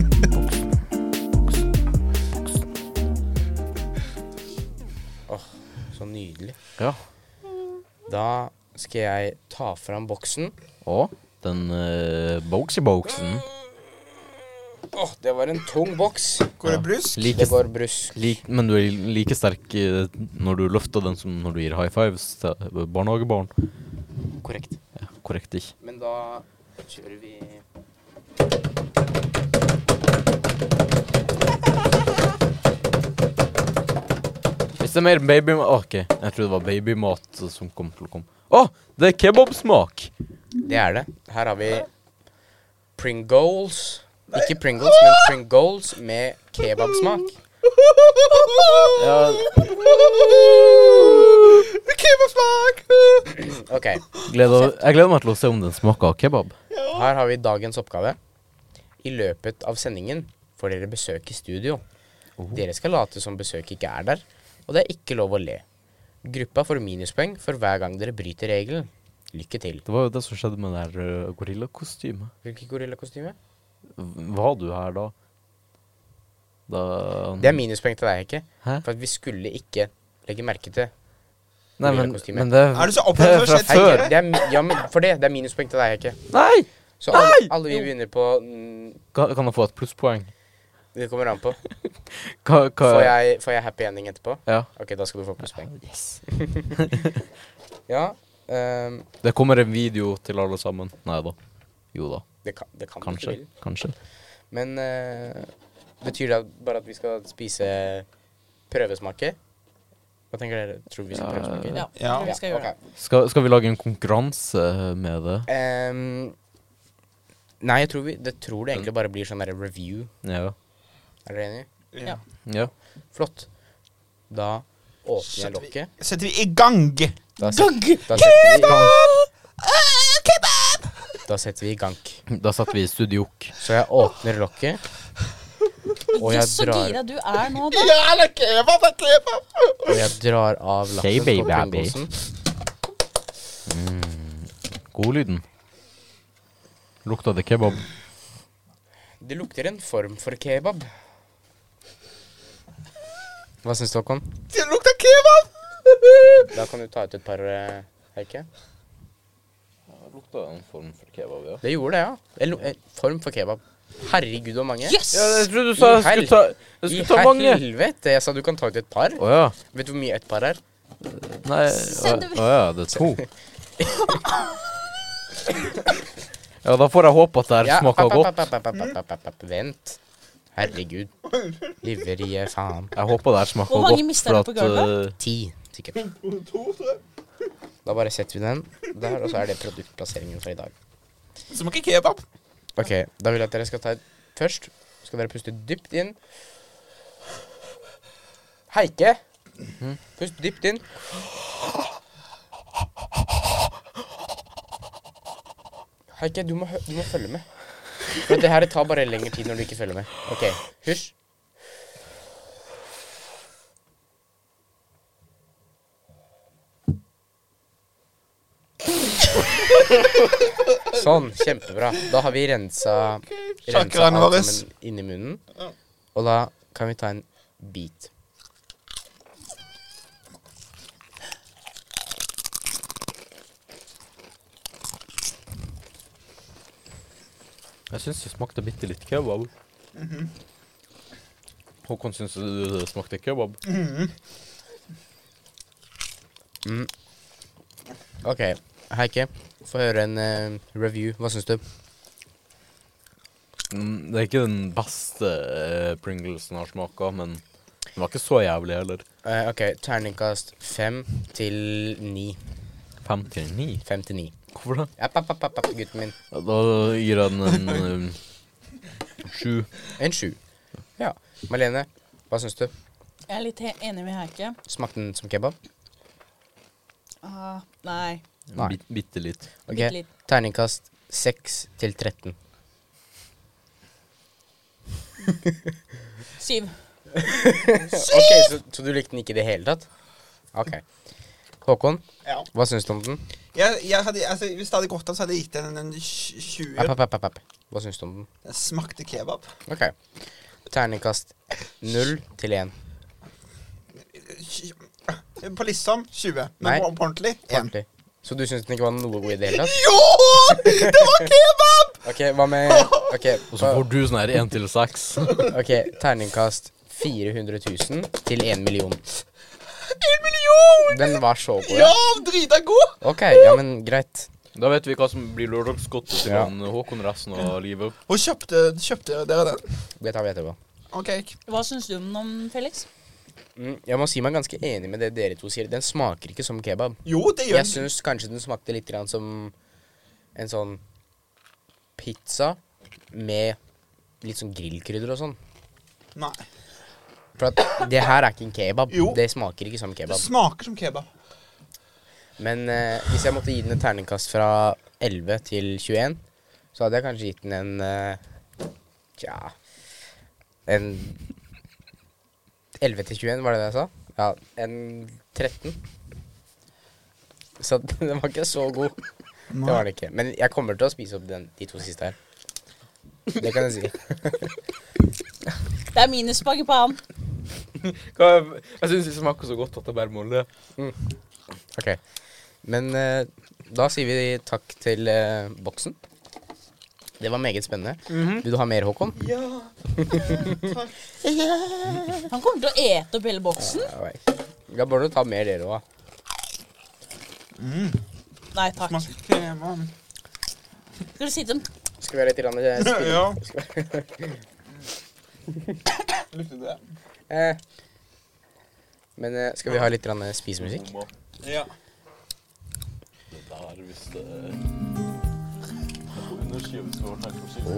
S1: Så nydelig.
S2: Ja.
S1: Da skal jeg ta fram boksen.
S2: Og den uh, boksy-boksen.
S1: Åh, det var en tung boks.
S3: Går det brusk?
S2: Like,
S1: Det går brusk.
S2: lik, men du er like sterk eh, når du løfter den som når du gir high fives til barnehagebarn.
S1: Korrekt.
S2: Ja, korrekt ikke.
S1: Men da kjører vi
S2: Hvis det er mer babymat ah, OK, jeg trodde det var babymat som kom til å komme. Å, det er kebabsmak!
S1: Det er det. Her har vi Pringles. Ikke Pringles, men Pringles med kebabsmak.
S2: Ja,
S3: Kebabsmak!
S1: Ok,
S2: gleder, jeg gleder meg til å se om den smaker av kebab.
S1: her har vi dagens oppgave. I løpet av sendingen får dere besøk i studio. Dere skal late som besøket ikke er der, og det er ikke lov å le. Gruppa får minuspoeng for hver gang dere bryter regelen. Lykke til.
S2: Det var jo det som skjedde med det her eh, gorillakostymet.
S1: Hvilket gorillakostyme?
S2: V- Var du her da? Da
S1: Det er minuspoeng til deg, ikke?
S2: Hæ?
S1: For at vi skulle ikke legge merke til
S2: Nei, men,
S1: gorillakostyme.
S2: men det
S3: Er du så opphengt for å
S2: Det er
S3: se
S2: fra
S1: Hei,
S2: før.
S3: tingene?
S1: det er, mi- ja, men for det, det er minuspoeng til deg, ikke?
S2: Nei!
S1: Så alle, alle vi begynner på mm,
S2: Kan, kan jeg få et plusspoeng?
S1: Det kommer an på.
S2: Hva, hva
S1: Får jeg, får jeg happy ending etterpå?
S2: Ja.
S1: Ok, da skal du få plusspoeng.
S2: Yes.
S1: Ja, ehm,
S2: Det kommer en video til alle sammen. Nei da. Jo da.
S1: det kan, det kan du
S2: Kanskje.
S1: ikke vil.
S2: Kanskje.
S1: Men eh, betyr det at- bare at vi skal spise prøvesmaker? Hva tenker dere? Tror vi skal
S2: Ja,
S1: prøvesmake?
S4: Ja, jeg
S3: Ja.
S4: tror vi skal gjøre
S1: ok.
S4: det.
S2: Skal, skal vi lage en konkurranse med det?
S1: Ehm, nei, jeg tror, vi, det tror det egentlig bare blir sånn der review.
S2: Ja.
S1: Er dere enige?
S4: Ja.
S2: ja.
S1: Flott. Da åpner jeg
S3: Setter vi-
S1: lokket.
S3: Setter vi i gang?
S1: Da, set, da, setter vi, i gang-
S3: Ah, Kebab!
S1: da setter vi i gank.
S2: Da setter vi studiok.
S1: Så jeg åpner
S4: [laughs]
S1: lokket, og jeg
S4: Så
S1: drar,
S4: gira du er nå, da.
S3: Ja, det er kebab, det er kebab!
S1: og jeg drar av
S2: Hey,
S1: lappen
S2: baby,
S1: på
S2: baby.
S1: pringosen.
S2: Godlyden. Lukta det kebab?
S1: Det lukter en form for kebab. Hva syns du, Håkon?
S3: Det lukter kebab!
S1: Da kan du ta ut et par, eh, Heike.
S2: Lukta en form for kebab, ja.
S1: Det gjorde det, ja. En, lu- en form for kebab. Herregud, hvor mange.
S4: Yes!
S2: Jeg trodde du sa jeg skulle ta, jeg
S1: I
S2: skulle ta mange.
S1: helvete! Jeg sa du kan ta ut et par.
S2: Å ja.
S1: Vet du hvor mye et par er?
S2: Nei, å, å ja, det er to. Ja, da får jeg håpe at det her
S1: Ja,
S2: smaker
S1: app, app,
S2: godt.
S1: app, app, app, app, app, app, app. Vent. Herregud. Liveriet, faen.
S2: Jeg håper det her smaker
S4: Hvor
S2: godt.
S4: mange mister
S2: for
S4: du på
S2: at,
S4: gulvet?
S2: eh,
S1: Ti, sikkert. Da bare setter vi den der, og så er det produktplasseringen for i dag.
S3: Smaker kebab.
S1: Ok, da vil jeg at dere skal ta et først. Skal dere puste dypt inn. Heike. Pust dypt inn. Heike, du må, hø- du må følge med. For det her tar bare lengre tid når du ikke følger med. Ok, hysj. Sånn, kjempebra. Da har vi rensa, rensa
S3: sjakraen
S1: alt
S3: våres.
S1: sammen inni munnen. Og da kan vi ta en bit.
S2: Jeg syns det smakte bitte litt kebab. Mhm. Håkon, syns du det smakte kebab?
S1: Ok, Heike, få høre en eh, review. Hva syns du?
S2: Mm, det er ikke den beste eh, Pringlesen jeg har smaka, men den var ikke så jævlig heller.
S1: Eh, ok, terningkast fem til ni.
S2: 59?
S1: Fem til ni.
S2: Hvorfor det?
S1: App, app, app, app, app, gutten min.
S2: Ja, Da gir jeg den en um, sju.
S1: En sju. Ja. Malene, hva syns du?
S4: Jeg er litt he- enig med Heike.
S1: Smakte den som kebab?
S4: Ah, nei.
S1: Nei.
S2: Bit, bitte litt.
S1: Ok,
S4: Bitte litt.
S1: Terningkast seks til 13.
S4: Syv.
S1: Ok, så, så du likte den ikke i det hele tatt? Ok. Håkon,
S3: Ja.
S1: hva syns du om den?
S3: Jeg, jeg hadde, altså, hvis det hadde gått an, så hadde jeg gitt den en 20.
S1: App, app, app, app, app. Hva syns du om den?
S3: Den smakte kebab.
S1: Ok. Terningkast null til én.
S3: På liksom 20,
S1: Nei.
S3: men på, på ordentlig 1.
S1: Ordentlig. Så du syns den ikke var noe god i det hele tatt?
S3: Jo! Det var kebab!
S1: Ok, hva med
S3: [laughs]
S1: Ok,
S2: Og så får du sånn her én til seks.
S1: ok, terningkast 400 000 til 1 million.
S3: En million!
S1: Den var så god.
S3: Ja, drita god!
S1: Ok, ja, men greit.
S2: [laughs] Da vet vi hva som blir lørdagsgodtet til
S1: Ja.
S2: han Håkon resten av livet.
S3: Og kjøpte, kjøpte dere den?
S1: Det tar vi etterpå.
S3: OK.
S4: Hva syns du om den, Felix?
S1: Mm, Jeg må si meg ganske enig med det dere to sier. Den smaker ikke som kebab.
S3: Jo, det gjør
S1: Jeg
S3: den.
S1: syns kanskje den smakte litt grann som en sånn pizza med litt sånn grillkrydder og sånn.
S3: Nei.
S1: For at det her er ikke en kebab.
S3: Jo.
S1: Det smaker ikke som
S3: Det
S1: kebab.
S3: smaker som kebab.
S1: Men eh, hvis jeg måtte gi den et terningkast fra 11 til 21, så hadde jeg kanskje gitt den en eh, Tja En 11 til 21, var det det jeg sa? Ja, en 13. Så [laughs] den var ikke så god. Det var den ikke. Men jeg kommer til å spise opp den, de to siste her. Det kan jeg si. [laughs]
S4: Det er minuspoeng på [laughs] han.
S2: Jeg, jeg syns det smaker så godt at jeg bare må le.
S1: Ok. Men eh, da sier vi takk til eh, boksen. Det var meget spennende. Vil du ha mer, Håkon?
S3: Ja.
S4: Han kommer til å ete opp hele boksen.
S1: Ja, nei. Da bør du ta mer dere òg.
S4: Nei takk.
S3: Smaker kebab.
S4: Skal du sitte om
S1: Skal vi ha litt grann,
S3: [laughs]
S1: eh, spill?
S3: Ja.
S1: Skal vi-
S3: Lukter det?
S1: eh. Men eh, skal vi ha litt grann, eh, spisemusikk?
S3: Ja.
S2: Der, hvis det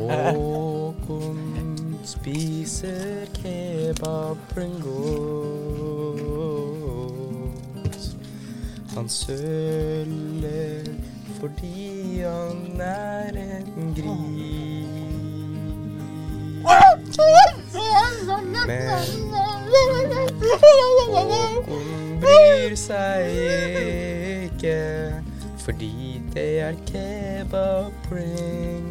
S2: er
S1: Håkon spiser kebab Pringles. Han søler fordi han er en gris. Men Håkon bryr seg ikke, fordi det er kebab Pringles.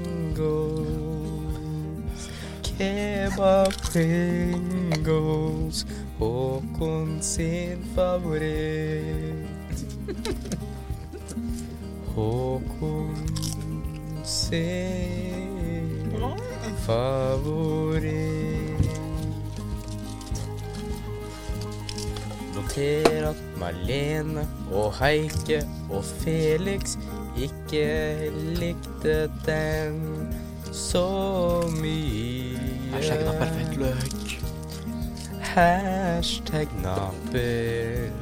S1: Kebab Pringles, Håkon sin favoritt. Håkon sin favoritt. Noter at Malene og Heike og Felix
S2: Ikke likte den så mye.
S3: Hashtaggen har perfekt løk.
S2: Hashtag naper feigløk.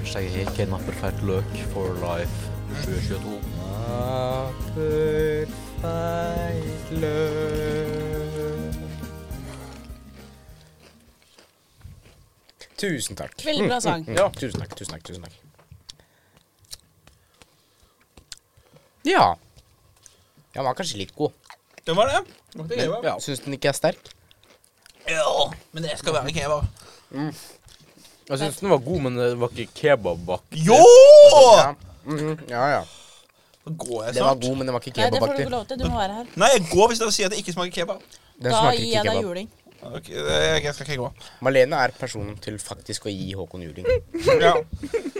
S2: Hashtag ikke naperfeigløk for life 2022. Naperfeigløk.
S1: Tusen takk.
S4: Veldig bra sang.
S1: Mm, ja. Tusen takk, tusen takk, tusen takk. Ja. Ja, den var kanskje litt god.
S3: Det var det. Måtte
S1: Men,
S3: leve.
S1: ja. Syns den ikke er sterk?
S3: Ja, men det skal være kebab.
S2: Jeg syns den var god, men det var ikke kebabbakke.
S3: Jo!
S1: Ja. Mhm, ja, ja.
S3: Nå går jeg
S1: Den var
S3: snart.
S1: god, men den var ikke
S4: Nei, det får du ikke
S1: kebabaktig.
S4: lov til. Du må være her.
S3: Nei, jeg går hvis dere sier at det ikke smaker kebab.
S1: Den
S4: da
S1: smaker
S4: gir
S1: ikke
S4: jeg deg
S1: kebab.
S4: juling.
S3: Ok, jeg, jeg skal ikke gå.
S1: Malene er personen til faktisk å gi Håkon juling.
S3: Ja.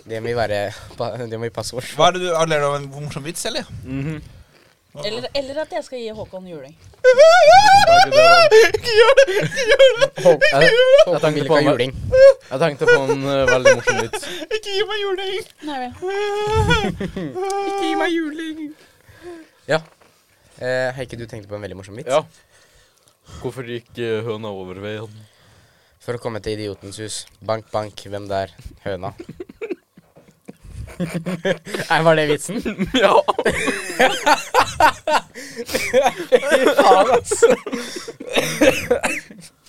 S1: Det må vi være pa- Det må vi passe oss for.
S3: Hva er det du har lært av en morsom vits, eller?
S4: Eller, eller at jeg skal gi Håkon juling.
S3: Ikke gjør det! Ikke gjør det!
S2: Jeg, jeg,
S1: Håkon
S2: tenkte
S1: vil ikke ha
S2: på en,
S1: juling.
S2: jeg tenkte på en eh, veldig morsom vits.
S3: Ikke gi meg juling!
S4: Nei vel.
S1: Ikke gi meg juling. Ja. Eh, Heikki, du tenkte på en veldig morsom vits?
S2: Ja. Hvorfor gikk eh, høna over veien?
S1: For å komme til Idiotens hus. Bank, bank, hvem der? Høna. Nei, var det vitsen?
S2: [laughs] Ja.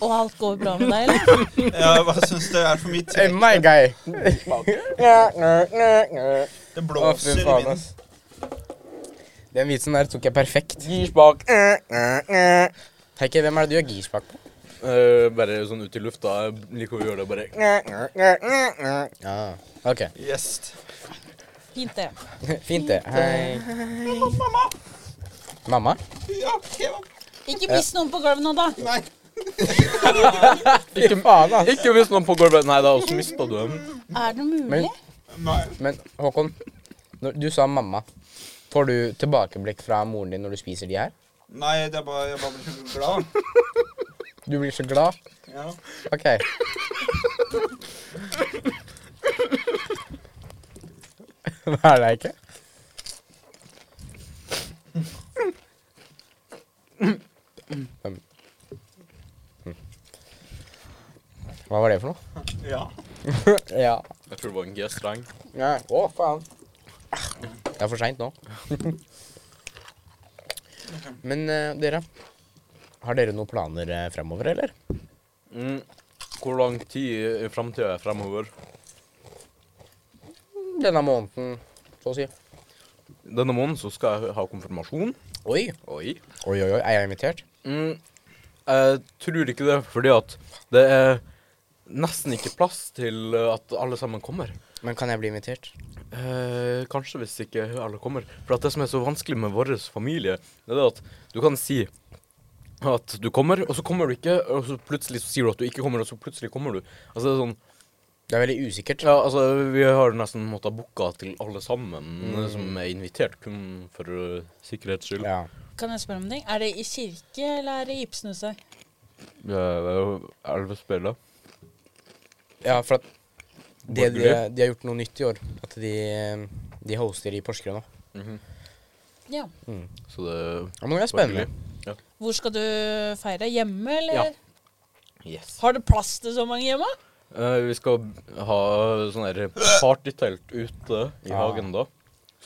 S4: Og alt går bra med
S1: [laughs]
S4: deg, eller?
S3: Jeg bare syns det er for mitt.
S1: Eh, my guy.
S3: Det
S1: Å, fy
S3: blåser i
S1: faen,
S3: vinden.
S1: ass. Den vitsen der tok jeg perfekt.
S2: Girspak.
S1: Heikki, hvem er det du gjør girspak på?
S2: Eh, bare sånn ut i lufta. Jeg liker å gjøre det bare
S1: Ja, ok. [laughs]
S3: Yes.
S4: Fint, det.
S1: Fint det. Hei.
S3: Mamma!
S1: Mamma?
S3: Ja, kebab.
S4: Ikke mist noen på gulvet nå, da.
S3: Nei.
S1: Ikke faen, ass.
S2: Ikke mist noen på gulvet. Nei da, så mista du dem.
S4: Er det mulig?
S1: Men-
S3: Nei.
S1: Men Håkon, når du sa mamma. Får du tilbakeblikk fra moren din når du spiser de her?
S3: Nei, det er bare, jeg bare blir så glad.
S1: Du blir så glad.
S3: Ja.
S1: Ok. [laughs] Hva er det ikke? Hm. Hva var det for noe?
S3: ja.
S1: Ja.
S2: Jeg tror det var en G-streng.
S1: Nei, Å, faen. Det er for seint nå. Men eh, dere, har dere noen planer uh, fremover, eller?
S2: Mm. Hvor lang tid i framtida er fremover?
S1: Denne måneden, så å si.
S2: Denne måneden så skal jeg ha konfirmasjon.
S1: Oi.
S2: Oi.
S1: Oi, oi, oi. Er jeg invitert?
S2: Mm. Jeg tror ikke det, fordi at det er nesten ikke plass til at alle sammen kommer.
S1: Men kan jeg bli invitert?
S2: Eh, kanskje hvis ikke alle kommer. For at det som er så vanskelig med vår familie, det er det at du kan si at du kommer, og så kommer du ikke, og så plutselig så sier du at du ikke kommer, og så plutselig kommer du. Altså det er sånn
S1: Det er veldig usikkert.
S2: Ja, altså vi har nesten måttet booka til alle sammen eh, som er invitert, kun for eh, sikkerhets
S1: Mm.
S2: skyld.
S1: Ja.
S4: Kan jeg spørre om en ting? Er det i kirke, eller er det i Ibsenhuset?
S2: Ja, det er jo Elvespillet.
S1: ja, for at det, de,
S2: Borgerlig.
S1: de har gjort noe nytt i år. At de, de hoster i Porsgrunn nå.
S4: Ja.
S2: Så det
S1: Ja, men det er spennende.
S2: Ja.
S4: Hvor skal du feire? Hjemme, eller?
S2: Ja. Yes.
S4: Har du plass til så mange hjemme?
S2: Eh, vi skal ha sånn her partytelt ute i
S1: Ja.
S2: hagen da.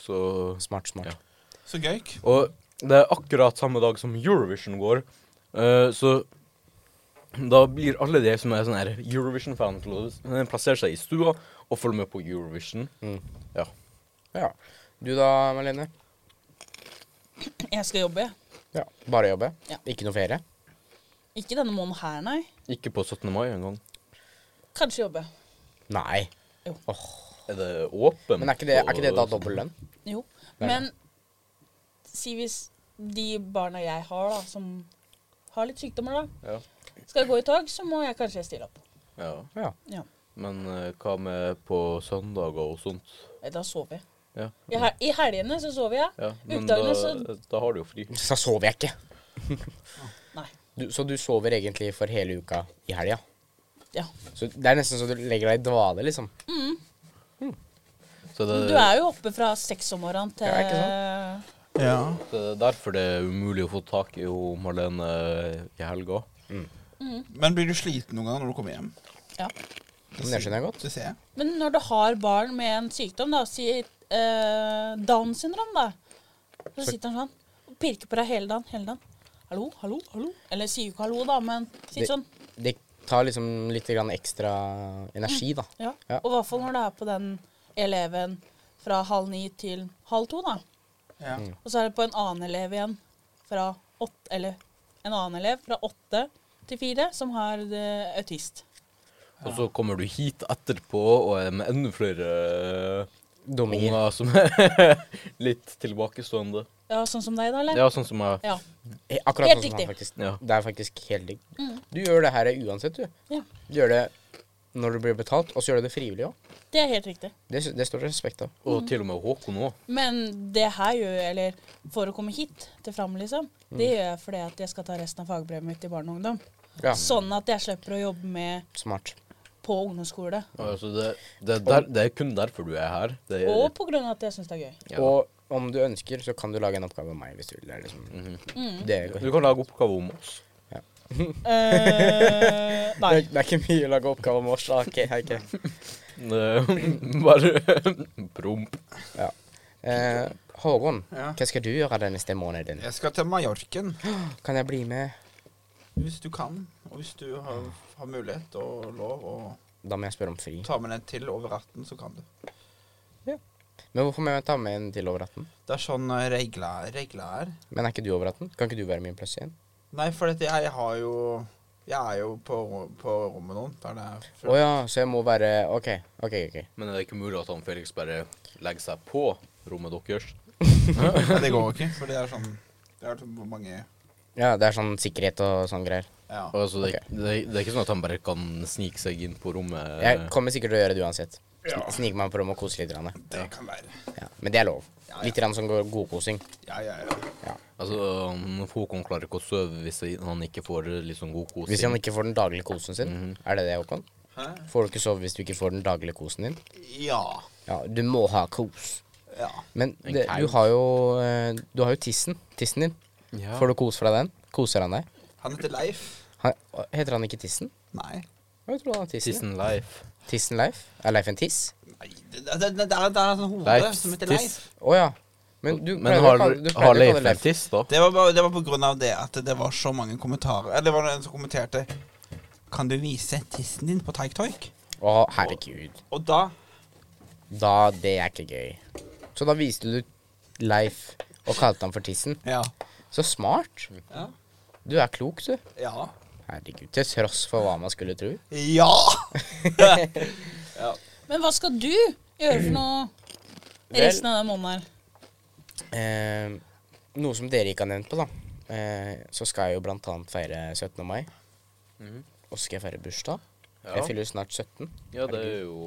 S2: Så
S1: Smart, smart.
S2: Ja.
S3: Så gøy.
S2: Og det er akkurat samme dag som Eurovision går, eh, så da blir alle de som er sånne her Eurovision-fan, til å eh, plassere seg i stua og følge med på Eurovision.
S1: Mm.
S2: Ja.
S1: Ja. Du da, Malene?
S4: Jeg skal jobbe, jeg.
S1: Ja. Bare jobbe?
S4: Ja.
S1: Ikke noe ferie?
S4: Ikke denne måneden her, nei.
S2: Ikke på 17. mai engang.
S4: Kanskje jobbe.
S1: Nei.
S2: Er det åpent?
S1: Men er ikke det, er ikke det da
S2: på-
S1: dobbel lønn?
S4: Jo.
S1: Nei,
S4: Men si hvis de barna jeg har, da, som har litt sykdommer, da,
S2: Ja.
S4: skal gå i tog, så må jeg kanskje stille opp.
S2: ja.
S1: Ja.
S4: Ja.
S2: Men eh, hva med på søndager og sånt?
S4: Da sover jeg.
S2: Ja.
S4: I, hel I helgene så sover jeg.
S2: ja. Men da,
S4: Ukdagene så
S2: da har du jo fri.
S1: Så sover jeg ikke.
S4: [laughs] Nei.
S1: Du, så du sover egentlig for hele uka i helga?
S4: Ja.
S1: Så det er nesten så du legger deg i dvale, liksom?
S4: Mm.
S2: Så det,
S4: Du er jo oppe fra seks om morgenen til
S1: Ja, ikke
S3: Ja.
S2: så det er derfor det er umulig å få tak i hun Marlene i helga òg.
S3: Men blir du sliten noen ganger når du kommer hjem?
S4: Ja.
S1: Men det skjønner jeg godt.
S3: Det ser jeg.
S4: Men når du har barn med en sykdom, da, si eh, Down syndrom, da, så sitter han sånn og pirker på deg hele dagen. hele dagen. Hallo, hallo, hallo. Eller sier jo ikke hallo, da, men sitter
S1: Det-
S4: sånn.
S1: Det tar liksom litt grann ekstra energi, da.
S4: Ja.
S1: Ja.
S4: Og i hvert fall når du er på den eleven fra halv ni til halv to, da.
S3: Ja.
S1: Mm.
S4: Og så er det på en annen elev igjen fra åtte Eller en annen elev fra åtte til fire som har eh, autist.
S2: Og så kommer du hit etterpå og er med enda flere eh,
S1: Dumminger.
S2: unger som er [laughs] litt tilbakestående.
S4: Ja, sånn som deg, da, eller?
S2: Ja, sånn som jeg
S4: Ja.
S1: Eh, Akkurat
S4: Helt
S1: sånn som han
S4: riktig.
S1: faktisk.
S2: Ja.
S1: Det er faktisk helt digg.
S4: Mm.
S1: Du gjør det her uansett, du.
S4: Ja.
S1: Du gjør det når du blir betalt, og så gjør du det frivillig òg.
S4: Det er helt riktig.
S1: Det, sy- det står det respekt av.
S2: Og til og med Håkon òg.
S4: Men det her gjør jeg, eller for å komme hit til Fram, liksom,
S1: Mm.
S4: det gjør jeg fordi at jeg skal ta resten av fagbrevet mitt i barne og ungdom.
S1: Ja,
S4: Sånn at jeg slipper å jobbe med
S1: smart.
S4: på ungdomsskole.
S1: Mm.
S2: Altså det, det, er der, det er kun derfor du er her. Det er,
S4: Og på grunn av at jeg syns det er gøy.
S2: ja.
S1: Og om du ønsker, så kan du lage en oppgave om meg hvis du vil. Det er liksom
S2: Mm.
S1: [laughs]
S4: Mm.
S1: det, går
S2: Du kan lage oppgave om oss.
S4: Eh, nei.
S1: Det, det er ikke mye å lage oppgave om oss. da. Ok, ok.
S2: Eh, [laughs] Bare promp.
S1: Eh, Håkon,
S3: Ja.
S1: hva skal du gjøre denne neste måneden?
S3: Jeg skal til Mallorken.
S1: Kan jeg bli med?
S3: Hvis du kan, og hvis du har, har mulighet og lov å
S1: Da må jeg spørre om fri.
S3: ta med den til over 18, så kan du.
S1: Men hvorfor må jeg ta med en til over 18?
S3: Det er sånn eh, regler, regler er.
S1: Men er ikke du over 18? Kan ikke du være min pluss igjen?
S3: Nei, for dette, jeg har jo Jeg er jo på, ro- på rommet nå. Der det er
S1: Å ja, så jeg må være OK, OK, OK.
S2: Men er det ikke mulig at han Felix bare legger seg på rommet deres?
S3: [laughs] Men det går ikke, for det er sånn Det er så mange
S1: Ja, det er sånn sikkerhet og sånn greier.
S3: Ja.
S2: Altså, det, det, det er ikke sånn at han bare kan snike seg inn på rommet?
S1: Jeg kommer sikkert til å gjøre det uansett. Snike meg på rommet og kose litt. grann,
S3: Det kan være.
S1: Ja. Men det er lov.
S3: Ja, ja.
S1: Litt grann som går godkosing.
S3: Ja, ja, ja.
S2: Altså, um, Håkon klarer ikke å sove hvis han ikke får eh, liksom god kos.
S1: Hvis han ikke får den daglige kosen sin,
S3: Mhm.
S1: er det det, Håkon?
S3: Hæ?
S1: Får du ikke sove hvis du ikke får den daglige kosen din?
S3: Ja.
S1: Ja, du må ha kos.
S3: Ja.
S1: Men
S2: En
S1: det, du
S2: kaus.
S1: har jo eh, Du har jo tissen. Tissen din.
S2: Ja.
S1: Får du kos fra den? Koser han deg?
S3: Han heter Leif.
S1: Han, heter han ikke Tissen?
S3: Nei.
S1: Jeg tror han har tissen.
S2: Tissen Leif.
S1: ja. Tissen Leif? Er Leif en tiss?
S3: Nei, det, det, det, det er det er en sånn hode
S2: Leif,
S3: som heter Leif.
S2: tiss.
S1: Å ja. Men du
S2: Men
S1: pleier å
S2: har,
S1: kalle- du pleier å
S2: har
S1: kalle
S2: Leif en tiss, da?
S3: Det var, bare, det var på grunn av det at det var så mange kommentarer. Eller det var en som kommenterte Kan du vise tissen din på Taiktoik?
S1: Å, herregud.
S3: Og da
S1: Da, Det er ikke gøy. Så da viste du Leif og kalte han for Tissen.
S3: Ja.
S1: Så smart.
S3: Ja.
S1: Du er klok, du.
S3: Ja.
S1: Herregud. Til tross for hva man skulle tro.
S3: Ja!
S4: Men hva skal du gjøre for noe resten av den måneden her?
S1: Eh, noe som dere ikke har nevnt på, da. Eh, så skal jeg jo blant annet feire 17. mai. Og så skal jeg feire bursdag.
S2: Ja.
S1: Jeg fyller jo snart 17.
S2: Ja, det er jo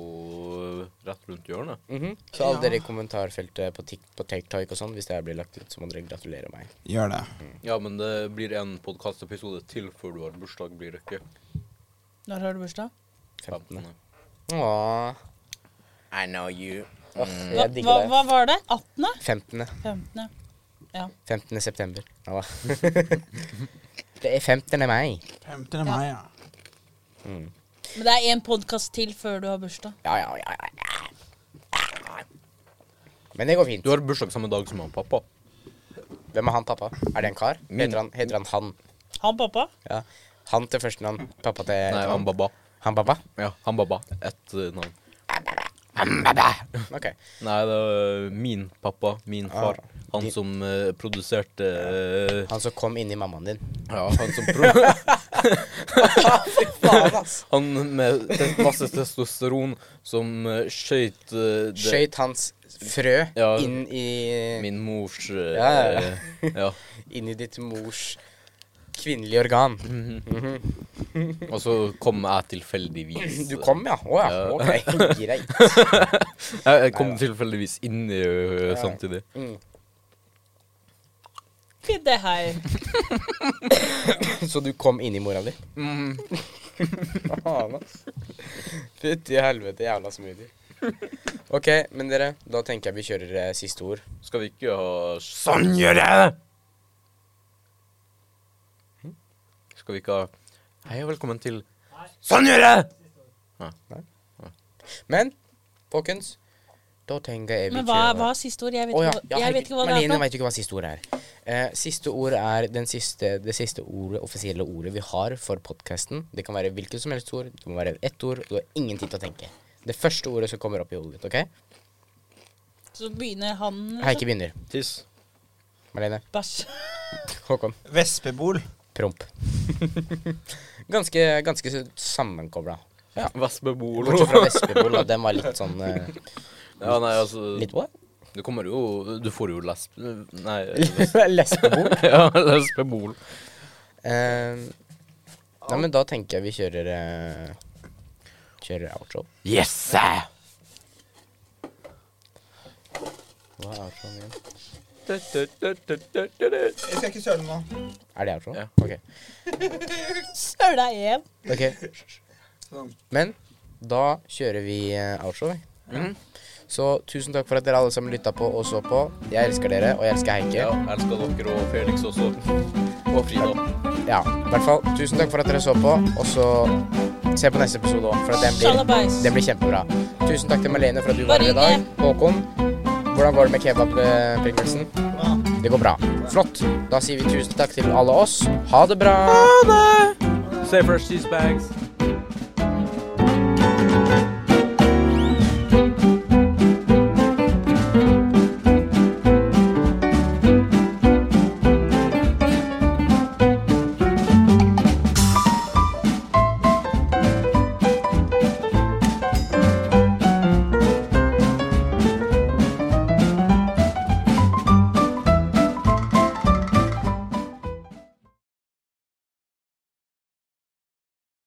S2: rett rundt hjørnet.
S1: Mhm. Så alle dere i kommentarfeltet på, Tik på TikTok og sånn, hvis det her blir lagt ut, så må dere gratulere meg.
S3: Gjør det.
S2: Ja, men det blir en podkastepisode til før du har bursdag, blir det ikke?
S4: Når har du bursdag?
S1: 15.
S2: 15.
S1: Åh. I know you. Mm. Åh,
S4: Hva,
S1: jeg
S4: hva,
S1: digger deg.
S4: hva var det? 18.?
S1: 15.
S4: 15. Ja.
S1: 15. september. Ja, da. [laughs] det er 15. mai.
S3: 15. mai, ja.
S4: Men det er én podkast til før du har bursdag.
S1: Ja, ja, ja, ja, ja. Men det går fint.
S2: Du har bursdag samme dag som han pappa.
S1: Hvem er han pappa? Er det en kar?
S2: Min.
S1: Heter han heter han? han?
S4: Han pappa?
S1: Ja. Han til førstenavn. Pappa til
S2: Nei, han
S1: etternavn.
S2: baba.
S1: Han pappa?
S2: Ja, han baba. Ett eh, navn.
S1: Ok.
S2: Nei, det er min pappa, Ah. min far. Han som eh, produserte eh,
S1: Han som kom inn i mammaen
S2: [laughs]
S1: din.
S2: Ja, han som pro...
S1: [laughs]
S2: han med te- masse testosteron som uh, skøyt eh, det-
S1: Skjøt hans frø
S2: Ja.
S1: inn i
S2: min mors
S1: Ja, ja, ja.
S2: ja. ja.
S1: Inn i ditt mors kvinnelige organ.
S2: Mm. Og så kom jeg tilfeldigvis
S1: Du kom, ja? Å ja.
S2: Ja.
S1: Ok,
S2: [laughs]
S1: greit.
S2: Jeg, jeg kom tilfeldigvis inn i ø, samtidig.
S1: Mm.
S4: Fy, Det her.
S1: Så du kom inn i mora di?
S2: Mm.
S1: [laughs] Faen, ass. Fytti helvete, jævla smoothie. OK, men dere, da tenker jeg vi kjører eh, siste ord.
S2: Skal vi ikke ha Sånn gjør jeg det! Hm? Skal vi ikke ha Hei og velkommen til Sånn gjør jeg det!
S1: Men folkens, da tenker jeg vi
S4: Men hva,
S1: kjører-
S4: hva er siste ord? Jeg vet,
S1: Å ja,
S4: ikke,
S1: ja,
S4: hva, jeg
S1: herregud,
S4: vet ikke hva det er
S1: Marlene
S4: for noe.
S1: vet jo ikke hva siste ord er. Eh, siste ord er den siste, det siste ordet, offisielle ordet vi har for podkasten. Det kan være hvilket som helst ord. Det må være ett ord. Du har ingen tid til å tenke. Det første ordet som kommer opp i hodet ditt. ok?
S4: Så begynner han
S1: Heike begynner.
S2: Tiss.
S1: Marlene.
S4: Bæsj.
S1: Håkon.
S3: Vespebol.
S1: Promp. [laughs] ganske ganske sammenkobla.
S2: Vespebolo.
S1: Bortsett fra Vestbebol, da. Den var litt sånn eh,
S2: Ja, nei, altså
S1: Litt what?
S2: Du kommer jo Du får jo lesb... [laughs] Nei
S1: [laughs] Lesbebol.
S2: Ja, lesbebol.
S1: Eh, nei, men da tenker jeg vi kjører eh, Kjører outro.
S2: Yes! sir!
S1: Hva er outroen igjen?
S3: Jeg skal ikke søle nå.
S1: Er det outro?
S2: Ja.
S1: Ok.
S4: [laughs] Søla E igjen.
S1: Ok,
S3: Sånn.
S1: Men da kjører vi eh, outro. vi. Så tusen takk for at dere alle sammen lytta på og så på. Jeg elsker dere, og jeg elsker
S2: Ja,
S1: Henke.
S2: elsker dere og Felix også. Og Frida.
S1: Ja, i hvert fall tusen takk for at dere så på, og så se på neste episode òg, for at den blir,
S4: Sjalabais.
S1: den blir kjempebra. Tusen takk til Malene for at du var
S4: Bare
S1: her i dag. Håkon, hvordan går det med kebabpringelsen?
S3: Bra.
S1: Det går bra. Flott. Da sier vi tusen takk til alle oss. Ha det bra.
S2: Say first cheese bags.